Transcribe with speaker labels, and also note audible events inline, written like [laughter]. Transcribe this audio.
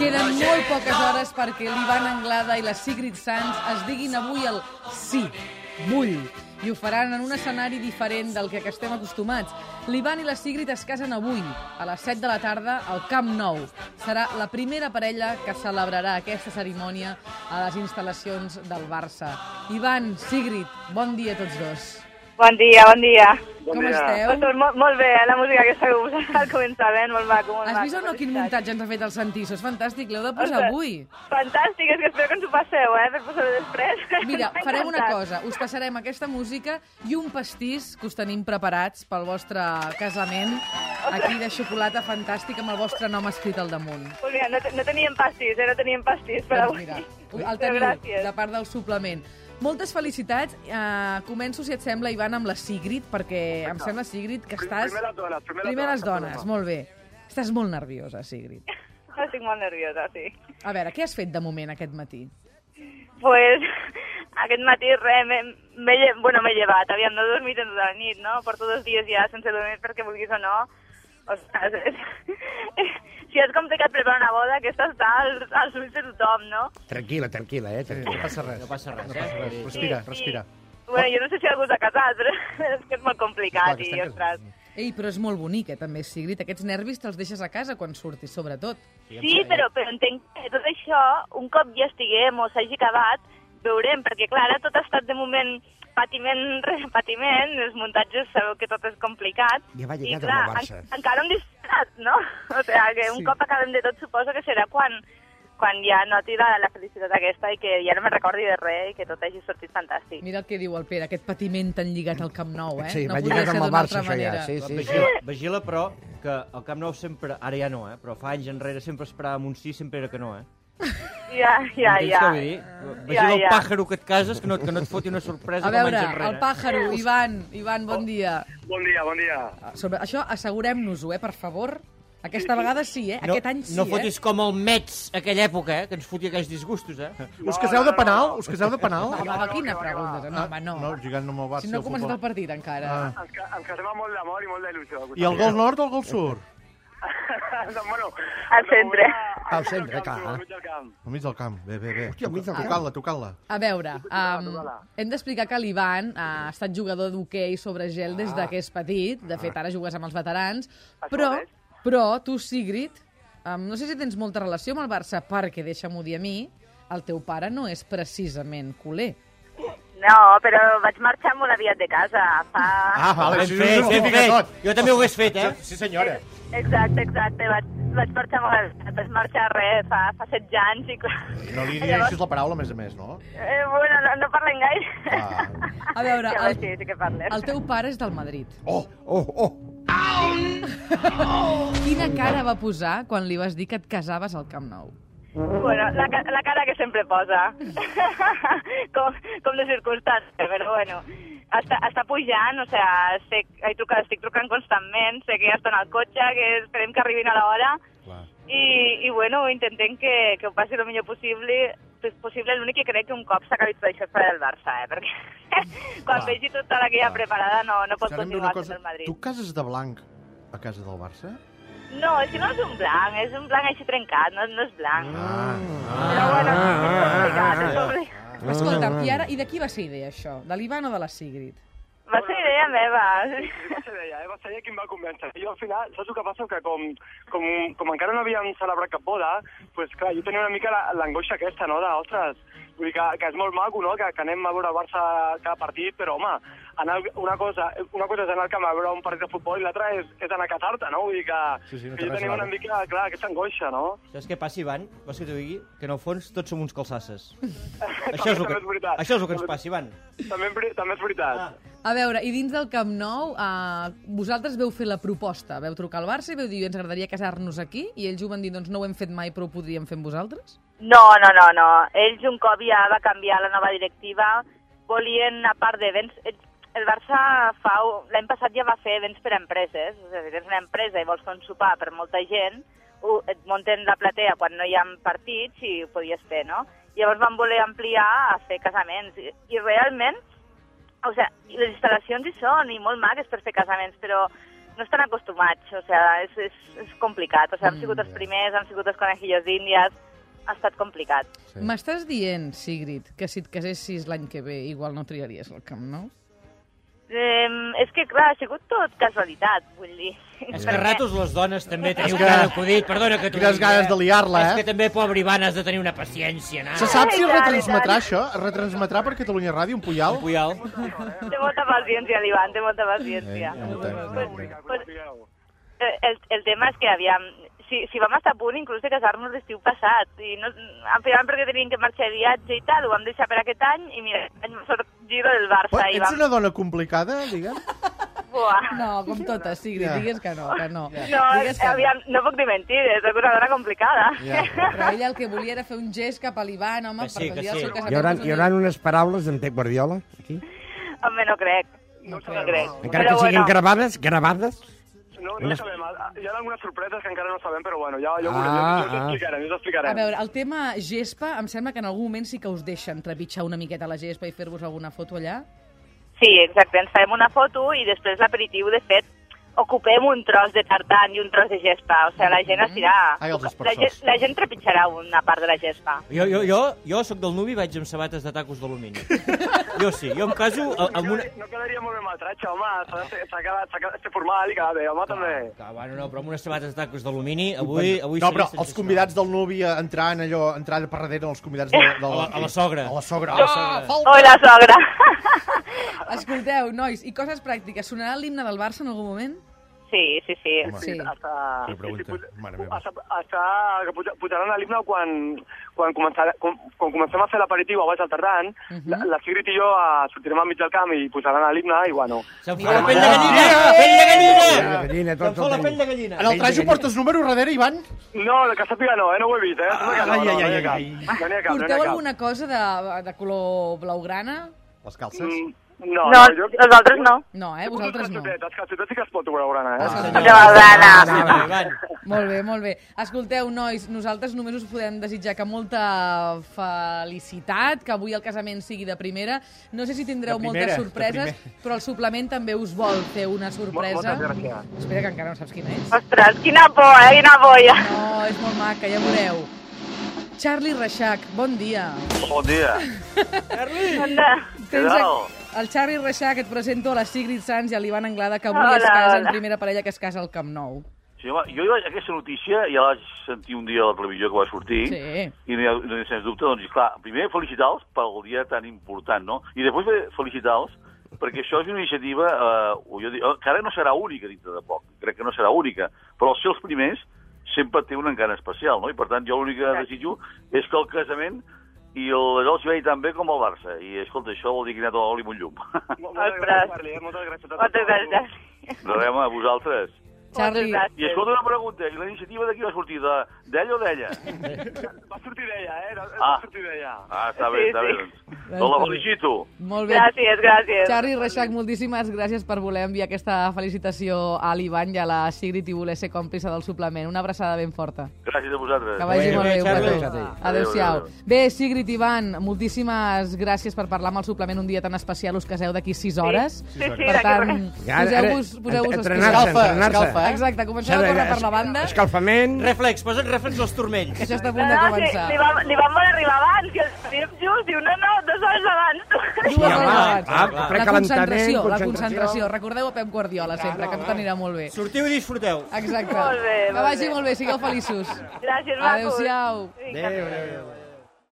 Speaker 1: molt poques hores perquè l'Ivan Anglada i la Sigrid Sanz es diguin avui el sí, vull, i ho faran en un escenari diferent del que, que estem acostumats. L'Ivan i la Sigrid es casen avui, a les 7 de la tarda, al Camp Nou. Serà la primera parella que celebrarà aquesta cerimònia a les instal·lacions del Barça. Ivan, Sigrid, bon dia a tots dos.
Speaker 2: Bon dia, bon dia.
Speaker 3: Bon
Speaker 1: Com
Speaker 3: dia.
Speaker 1: esteu?
Speaker 2: Tot, molt, molt bé, eh? la música aquesta que posava [laughs] al començament, molt maco, molt
Speaker 1: Has
Speaker 2: maco.
Speaker 1: vist o no quin
Speaker 2: felicitats.
Speaker 1: muntatge ens ha fet el Santiso? És fantàstic, l'heu de posar
Speaker 2: Ostres.
Speaker 1: avui.
Speaker 2: Fantàstic, és que espero que ens ho passeu, eh, per posar-ho després.
Speaker 1: Mira,
Speaker 2: [laughs] M'ha
Speaker 1: farem una
Speaker 2: encantat.
Speaker 1: cosa. Us passarem aquesta música i un pastís que us tenim preparats pel vostre casament, aquí de xocolata fantàstica amb el vostre nom escrit al damunt.
Speaker 2: Pues mira, no, te- no teníem pastís, eh, no teníem pastís per avui.
Speaker 1: Doncs mira,
Speaker 2: [laughs] Però
Speaker 1: el teniu
Speaker 2: gràcies.
Speaker 1: de part del suplement. Moltes felicitats. Uh, començo, si et sembla, Ivan, amb la Sigrid, perquè em sembla, Sigrid, que
Speaker 3: Primer
Speaker 1: estàs...
Speaker 3: les dones, primer les
Speaker 1: Primer les
Speaker 3: dones.
Speaker 1: dones, molt bé. Estàs molt nerviosa, Sigrid.
Speaker 2: Estic molt nerviosa, sí.
Speaker 1: A veure, què has fet de moment aquest matí?
Speaker 2: Pues [laughs] aquest matí, res, m'he m'he lle... bueno, m'he llevat, aviam, no he dormit en tota la nit, no? Porto dos dies ja sense dormir perquè vulguis o no. Ostres, és... [laughs] si és complicat preparar una boda, aquesta està als, als ulls de tothom, no?
Speaker 4: Tranquil·la, tranquil·la, eh?
Speaker 5: No
Speaker 4: Tranquil·la.
Speaker 5: passa res. No passa res, eh? Vull dir,
Speaker 4: Respira,
Speaker 2: Sí, sí.
Speaker 4: respira.
Speaker 2: Bueno, jo no sé si algú s'ha casat, però [laughs] és que és molt
Speaker 5: clar,
Speaker 2: complicat
Speaker 5: que
Speaker 2: i,
Speaker 5: estem
Speaker 2: ostres...
Speaker 5: casats.
Speaker 1: Ei, però és molt bonic, eh, també, Sigrid. Aquests nervis te'ls deixes a casa quan surtis, sobretot.
Speaker 2: Sí, però, però entenc que tot això, un cop ja estiguem o s'hagi acabat, veurem, perquè clar, ara tot ha estat de moment patiment, re- patiment, els muntatges sabeu que tot és complicat.
Speaker 4: Ja va
Speaker 2: I
Speaker 4: lligat amb
Speaker 2: clar,
Speaker 4: el Barça.
Speaker 2: en, encara hem disparat, no? [laughs] O sigui, que un
Speaker 1: Sí.
Speaker 2: cop acabem de tot suposo que serà quan, quan ja noti la, la felicitat aquesta i que ja no me recordi de res i que tot hagi sortit fantàstic.
Speaker 1: Mira el que diu el Pere, aquest patiment tan lligat al Camp Nou, eh?
Speaker 4: Sí,
Speaker 1: no
Speaker 4: va
Speaker 1: podia
Speaker 4: lligat
Speaker 1: ser
Speaker 4: amb el
Speaker 1: d'una altra
Speaker 4: Barça, això ja.
Speaker 1: manera.
Speaker 4: Sí, sí.
Speaker 5: Vigila, vigila, però, que al Camp Nou sempre... Ara ja no, eh? Però fa anys enrere sempre esperàvem un sí, sempre era que no, eh?
Speaker 2: Ja, ja,
Speaker 5: Entens
Speaker 2: ja.
Speaker 5: què vull dir? Vigila
Speaker 2: Ja,
Speaker 5: el
Speaker 2: ja.
Speaker 5: pàjaro que et cases, que no, que no et foti una sorpresa
Speaker 1: A
Speaker 5: com
Speaker 1: veure,
Speaker 5: anys enrere. Oh.
Speaker 1: el pàjaro, Ivan, Ivan, bon dia.
Speaker 3: Bon dia, bon dia.
Speaker 1: Sobre això, assegurem-nos-ho, eh, per favor. Aquesta vegada sí, eh? Aquest any sí,
Speaker 5: No
Speaker 1: eh?
Speaker 5: fotis com el Mets aquella època, eh? Que ens fotia aquells disgustos, eh?
Speaker 3: No,
Speaker 6: Us caseu de
Speaker 3: no, no,
Speaker 6: penal?
Speaker 3: no.
Speaker 6: Us caseu de penal?
Speaker 1: Home, va, quina
Speaker 3: no, no,
Speaker 1: pregunta. No, home, Ah, no.
Speaker 6: No, lligant no me'l va.
Speaker 1: Si no ha començat el partit, encara.
Speaker 6: Ah.
Speaker 3: Ens, ca- ens casem amb molt d'amor i molt d'il·lusió.
Speaker 6: I el gol nord o el gol sud?
Speaker 3: [laughs] doncs, bueno,
Speaker 2: Al centre.
Speaker 4: Al centre, clar.
Speaker 6: Al mig del camp. Bé, bé, bé.
Speaker 4: Hòstia, al mig del camp.
Speaker 6: Tocant-la, tocant-la.
Speaker 1: A veure, um,
Speaker 3: toca-la.
Speaker 1: hem d'explicar que l'Ivan ha estat jugador d'hoquei sobre gel des de que és petit. De fet, ara jugues amb els veterans. Però,
Speaker 3: mateix.
Speaker 1: però tu, Sigrid, um, no sé si tens molta relació amb el Barça, perquè, deixa-m'ho dir a mi, el teu pare no és precisament culer.
Speaker 2: No, però vaig marxar molt aviat de casa. Fa...
Speaker 6: Ah, vale,
Speaker 5: Ben
Speaker 6: sí,
Speaker 5: fet,
Speaker 6: sí,
Speaker 5: ben
Speaker 6: sí,
Speaker 5: fet.
Speaker 6: tot.
Speaker 5: Jo també ho hagués fet, eh?
Speaker 6: Sí, senyora.
Speaker 2: Exacte, exacte. Vaig, vaig marxar molt aviat. Vaig marxar res, fa, fa 16 anys i clar...
Speaker 6: No li
Speaker 2: Llavors,
Speaker 6: direixis la paraula, a més a més, no?
Speaker 2: eh, bueno, no, no parlem gaire.
Speaker 6: Ah.
Speaker 1: A veure,
Speaker 2: Ja,
Speaker 1: el-
Speaker 2: el... sí, sí que parlem.
Speaker 1: El teu pare és del Madrid.
Speaker 6: Oh, oh, oh.
Speaker 1: Quina cara va posar quan li vas dir que et casaves al Camp Nou?
Speaker 2: Bueno, la, ca- la cara que sempre posa. [laughs] com, com de circumstància, però bueno. Està, està pujant, o sea, sé, he trucat, estic trucant constantment, sé que ja estan al cotxe, que esperem que arribin a l'hora.
Speaker 6: Clar.
Speaker 2: I, i bueno, intentem que, que ho passi el millor possible és possible, l'únic que crec que un cop s'acabi tot això serà el Barça, eh? perquè [laughs] quan
Speaker 6: Clar.
Speaker 2: vegi tota la que hi ha
Speaker 6: Clar.
Speaker 2: preparada no, no pot
Speaker 6: Ara em ve una
Speaker 2: continuar sent
Speaker 6: cosa.
Speaker 2: el Madrid.
Speaker 6: Tu cases de blanc a casa del Barça?
Speaker 2: No, és que no és un blanc, és un blanc així trencat, no, no és blanc.
Speaker 6: Ah,
Speaker 2: Però bueno, és complicat, és complicat.
Speaker 1: Escolta'm, i ara, i de qui va ser idea això? De l'Ivan o de la Sigrid?
Speaker 2: Va ser idea meva.
Speaker 3: Va ser ella, eh? va ser ella qui em va convèncer. Jo al final, saps el que passa? Que com, com, com encara no havíem celebrat cap boda, pues, clar, jo tenia una mica la- l'angoixa aquesta, no? De, ostres, vull dir que, que és molt maco, no? Que, que anem a veure el Barça cada partit, però home, anar, una, cosa, una cosa és anar al camp a veure un partit de futbol i l'altra és, és anar a casar-te, no? Vull dir que,
Speaker 6: Sí, sí, no
Speaker 3: que
Speaker 6: té
Speaker 3: jo
Speaker 6: res a
Speaker 3: tenia una
Speaker 6: veure.
Speaker 3: mica, clar, aquesta angoixa, no?
Speaker 5: Saps què passa, Ivan? Vols que t'ho digui? Que en el fons tots som uns calçasses. això, és
Speaker 3: També-
Speaker 5: el
Speaker 3: també
Speaker 5: que,
Speaker 3: és veritat.
Speaker 5: això és el que ens
Speaker 3: També-
Speaker 5: passa, Ivan.
Speaker 3: També, és veri- també és veritat.
Speaker 5: Ah.
Speaker 1: A veure, i dins del Camp Nou, eh, vosaltres veu fer la proposta. Veu trucar al Barça i veu dir, ens agradaria casar-nos aquí, i ells ho van dir, doncs no ho hem fet mai, però ho podríem fer amb vosaltres?
Speaker 2: No, no, no, no. Ells un cop ja va canviar la nova directiva, volien, a part d'events... ells- El Barça fa... u- L'any passat ja va fer events per a empreses. O sigui, si tens una empresa i vols fer un sopar per molta gent, ho- et munten la platea quan no hi ha partits i ho podies fer, no? Llavors van voler ampliar a fer casaments. I, i realment o sea, les instal·lacions hi són i molt maques per fer casaments, però no estan
Speaker 6: Mm,
Speaker 2: acostumats, o sea, és, és, és complicat. O sea, han sigut els primers, han sigut els conejillos d'índies, ha estat complicat.
Speaker 6: Sí.
Speaker 1: M'estàs dient, Sigrid, que si et casessis l'any que ve igual no triaries el Camp Nou?
Speaker 2: Eh, és que, clar, ha sigut tot casualitat, vull dir.
Speaker 7: És que ratos les dones també teniu
Speaker 6: que-
Speaker 7: que... cada acudit, perdona que t'ho
Speaker 6: Quines
Speaker 7: digui,
Speaker 6: ganes de liar-la,
Speaker 7: És
Speaker 6: eh?
Speaker 7: que també, pobre Ivan, has de tenir una paciència,
Speaker 6: Se
Speaker 7: nana.
Speaker 6: sap si
Speaker 2: Ai,
Speaker 6: es
Speaker 2: tant,
Speaker 6: retransmetrà
Speaker 2: i tant.
Speaker 6: això? Es retransmetrà per Catalunya Ràdio, un puyal?
Speaker 7: Puyal.
Speaker 2: Té molta paciència, l'Ivan, té molta paciència.
Speaker 6: Eh, ja ho entenc, ja ho entenc.
Speaker 2: Pues, eh, el, el tema és que aviam, si, si vam estar a punt inclús de casar-nos l'estiu passat, i no, al final perquè teníem que marxar de viatge i tal, ho vam deixar per aquest any, i mira, aquest any va sortir lo del Barça,
Speaker 6: Però
Speaker 2: i
Speaker 6: ets
Speaker 2: vam...
Speaker 6: una dona complicada, diguem?
Speaker 2: Buah. No.
Speaker 1: No, com totes, Sigrid,
Speaker 6: Ja.
Speaker 1: digues que no, que no.
Speaker 2: No,
Speaker 1: [laughs] digues que no.
Speaker 2: aviam, no puc dir mentides, sóc una dona complicada.
Speaker 6: Ja.
Speaker 1: Però ella el que volia era fer un gest cap a l'Ivan, home,
Speaker 7: Que sí,
Speaker 1: per
Speaker 7: que
Speaker 1: dir el
Speaker 7: sí.
Speaker 1: seu casament.
Speaker 4: Hi haurà,
Speaker 1: us ho
Speaker 4: hi haurà unes paraules d'en Pep Guardiola, aquí?
Speaker 2: [laughs] Home, no crec. No,
Speaker 3: sabem.
Speaker 2: crec.
Speaker 4: Encara que siguin gravades, gravades?
Speaker 3: No, no sabem. Hi ha algunes sorpreses que encara no sabem, però bueno, ja, ja ho veurem.
Speaker 4: Ah,
Speaker 3: Ah, ja us explicarem, ja us
Speaker 1: A
Speaker 3: explicarem.
Speaker 1: veure, el tema gespa, em sembla que en algun moment sí que us deixen trepitjar una miqueta la gespa i fer-vos alguna foto allà.
Speaker 2: Sí, exacte, ens farem una foto i després l'aperitiu, de fet, ocupem un tros de tartan i un tros de gespa. O sigui, la gent estirà...
Speaker 6: Ai, els
Speaker 2: la,
Speaker 6: aspersors.
Speaker 2: gent, la gent trepitjarà una part de la gespa.
Speaker 7: Jo, jo, jo, jo sóc del nuvi i vaig amb sabates de tacos d'alumini. Jo sí, jo em caso a- amb una...
Speaker 3: No quedaria molt bé metratge, home. S'ha de ser- s'ha quedat, s'ha quedat ser formal i quedar bé, home, també.
Speaker 7: Que, bueno, no, però amb unes sabates de tacos d'alumini, avui... avui
Speaker 6: no,
Speaker 7: seria
Speaker 6: però els
Speaker 7: sensacional.
Speaker 6: convidats del nuvi a entrar en allò, entrar allà per darrere els convidats de, de
Speaker 7: Eh, A la- a la sogra.
Speaker 6: A la sogra.
Speaker 7: A la sogra.
Speaker 2: Oi, la sogra! [laughs]
Speaker 1: Escolteu, nois, i coses pràctiques. Sonarà l'himne del Barça en algun moment?
Speaker 2: sí, sí, sí.
Speaker 1: Sí.
Speaker 3: Hasta...
Speaker 6: Quina
Speaker 3: sí,
Speaker 6: pregunta,
Speaker 3: sí, mare
Speaker 6: mare meva.
Speaker 3: meva. Hasta, hasta que puja- pujaran a l'himne quan, quan, començarà, quan, quan comencem a fer l'aperitiu abans del tardant, uh -huh. la, la Sigrid i jo eh, sortirem al mig del camp i pujaran a l'himne i, bueno...
Speaker 7: Se'm fa
Speaker 6: Ah,
Speaker 7: la pell de gallina! la Pell
Speaker 4: Pell
Speaker 7: de
Speaker 4: de
Speaker 7: gallina!
Speaker 4: gallina, tots
Speaker 7: Se'm fa
Speaker 4: el
Speaker 7: la pell
Speaker 4: tenim.
Speaker 7: de gallina!
Speaker 6: En el trajo portes número darrere, Ivan?
Speaker 3: No, la que sàpiga no, eh? No ho he vist, eh? Sembla que no,
Speaker 6: Ah,
Speaker 3: no, no
Speaker 6: Ai, ai,
Speaker 3: n'hi ha
Speaker 6: ai,
Speaker 3: cap.
Speaker 6: ai.
Speaker 3: No n'hi ha cap, no n'hi
Speaker 1: Porteu
Speaker 3: ha cap.
Speaker 1: alguna cosa de, de color blaugrana?
Speaker 6: Les calces?
Speaker 3: Mm, No,
Speaker 2: No,
Speaker 3: jo...
Speaker 2: nosaltres no.
Speaker 1: No, eh? Vosaltres no.
Speaker 3: Els calçotets sí que es pot veure, Urana, eh?
Speaker 7: Ah,
Speaker 2: De la
Speaker 7: Sí,
Speaker 2: dana.
Speaker 7: però, Ivan,
Speaker 1: Molt bé, molt bé. Escolteu, nois, nosaltres només us podem desitjar que molta felicitat, que avui el casament sigui de primera. No sé si tindreu
Speaker 6: De primera,
Speaker 1: moltes
Speaker 6: de
Speaker 1: sorpreses, [laughs] però el suplement també us vol fer una
Speaker 3: Mol-
Speaker 1: sorpresa.
Speaker 3: Moltes gràcies.
Speaker 1: Espera, que encara no saps quina és.
Speaker 2: Ostres, quina por, eh? Quina boia.
Speaker 1: No, és molt maca, ja veureu. Charlie Reixac, bon dia.
Speaker 3: Bon dia.
Speaker 1: Tens
Speaker 3: tal?
Speaker 1: a- El Charlie Reixac, et presento a la Sigrid Sanz i a l'Ivan Anglada, que avui
Speaker 2: Hola,
Speaker 1: es casen,
Speaker 2: hola.
Speaker 1: primera parella que es casa al Camp Nou.
Speaker 8: Sí, home, jo vaig, aquesta notícia ja la vaig sentir un dia a la televisió que va sortir,
Speaker 1: Sí.
Speaker 8: i no hi ha, no hi ha sens dubte, doncs, clar, primer felicitar-los pel dia tan important, no? I després bé, felicitar-los perquè això és una iniciativa, eh, o jo dic, eh, que ara no serà única dintre de poc, crec que no serà única, però els seus primers sempre té un encant especial, no? I per tant, jo l'únic que desitjo és que el casament i el Real vegi tan bé com el Barça. I, escolta, això vol dir que hi ha tot oli i un llum. [laughs]
Speaker 3: Moltes
Speaker 2: Ostres.
Speaker 3: gràcies, Marley, eh? Moltes gràcies a tots.
Speaker 2: Moltes gràcies.
Speaker 8: No rem a vosaltres.
Speaker 1: Charlie,
Speaker 2: Moltes
Speaker 8: I escolta una pregunta, i la iniciativa de qui va sortir? De- D'ell o
Speaker 2: [laughs]
Speaker 8: d'ella?
Speaker 3: Va sortir d'ella, eh? Va- Va
Speaker 8: Ah.
Speaker 3: sortir d'ella.
Speaker 8: Ah, està bé,
Speaker 2: Sí,
Speaker 8: està bé.
Speaker 2: sí.
Speaker 8: doncs. Doncs la felicito.
Speaker 1: molt bé.
Speaker 2: Gràcies, gràcies.
Speaker 1: Charlie Reixac, moltíssimes gràcies per voler enviar aquesta felicitació a l'Ivan i a la Sigrid i voler ser còmplice del suplement. Una abraçada ben forta.
Speaker 8: Gràcies a
Speaker 1: Que
Speaker 8: vosaltres.
Speaker 1: vagi
Speaker 7: Adéu,
Speaker 1: molt bé.
Speaker 7: adéu,
Speaker 1: un petó.
Speaker 7: Charlie.
Speaker 1: Adéu-siau.
Speaker 8: Adéu, adéu.
Speaker 1: Bé, Sigrid i Ivan, moltíssimes gràcies per parlar amb el suplement un dia tan especial. Us caseu d'aquí 6 hores.
Speaker 2: Sí, sí,
Speaker 1: Per
Speaker 2: d'aquí
Speaker 1: tant,
Speaker 2: res.
Speaker 4: Ja, ara-
Speaker 1: poseu-vos eh? poseu
Speaker 4: en-
Speaker 1: els
Speaker 4: entrenar-se,
Speaker 1: pistons.
Speaker 4: entrenar-se.
Speaker 1: Exacte, comencem a córrer per la banda.
Speaker 4: Escalfament...
Speaker 7: Reflex, posa't reflex als turmells.
Speaker 1: Que això està a
Speaker 2: No,
Speaker 1: punt de
Speaker 2: no, sí,
Speaker 1: començar.
Speaker 2: li, va, li vam voler arribar abans, i el Pep just diu, no, no, dues hores abans.
Speaker 1: Dues
Speaker 7: home,
Speaker 1: hores abans.
Speaker 7: ah,
Speaker 1: La
Speaker 4: precalentament,
Speaker 1: concentració, la
Speaker 4: concentració.
Speaker 1: concentració. Recordeu a Pep Guardiola sempre, que tot anirà molt bé.
Speaker 7: Sortiu i disfruteu.
Speaker 1: Exacte.
Speaker 2: Molt bé,
Speaker 1: Que
Speaker 2: molt
Speaker 1: vagi
Speaker 2: bé.
Speaker 1: molt bé, sigueu feliços.
Speaker 2: Gràcies, macos.
Speaker 1: Adéu-siau.
Speaker 2: Vinga.
Speaker 6: adéu, adéu.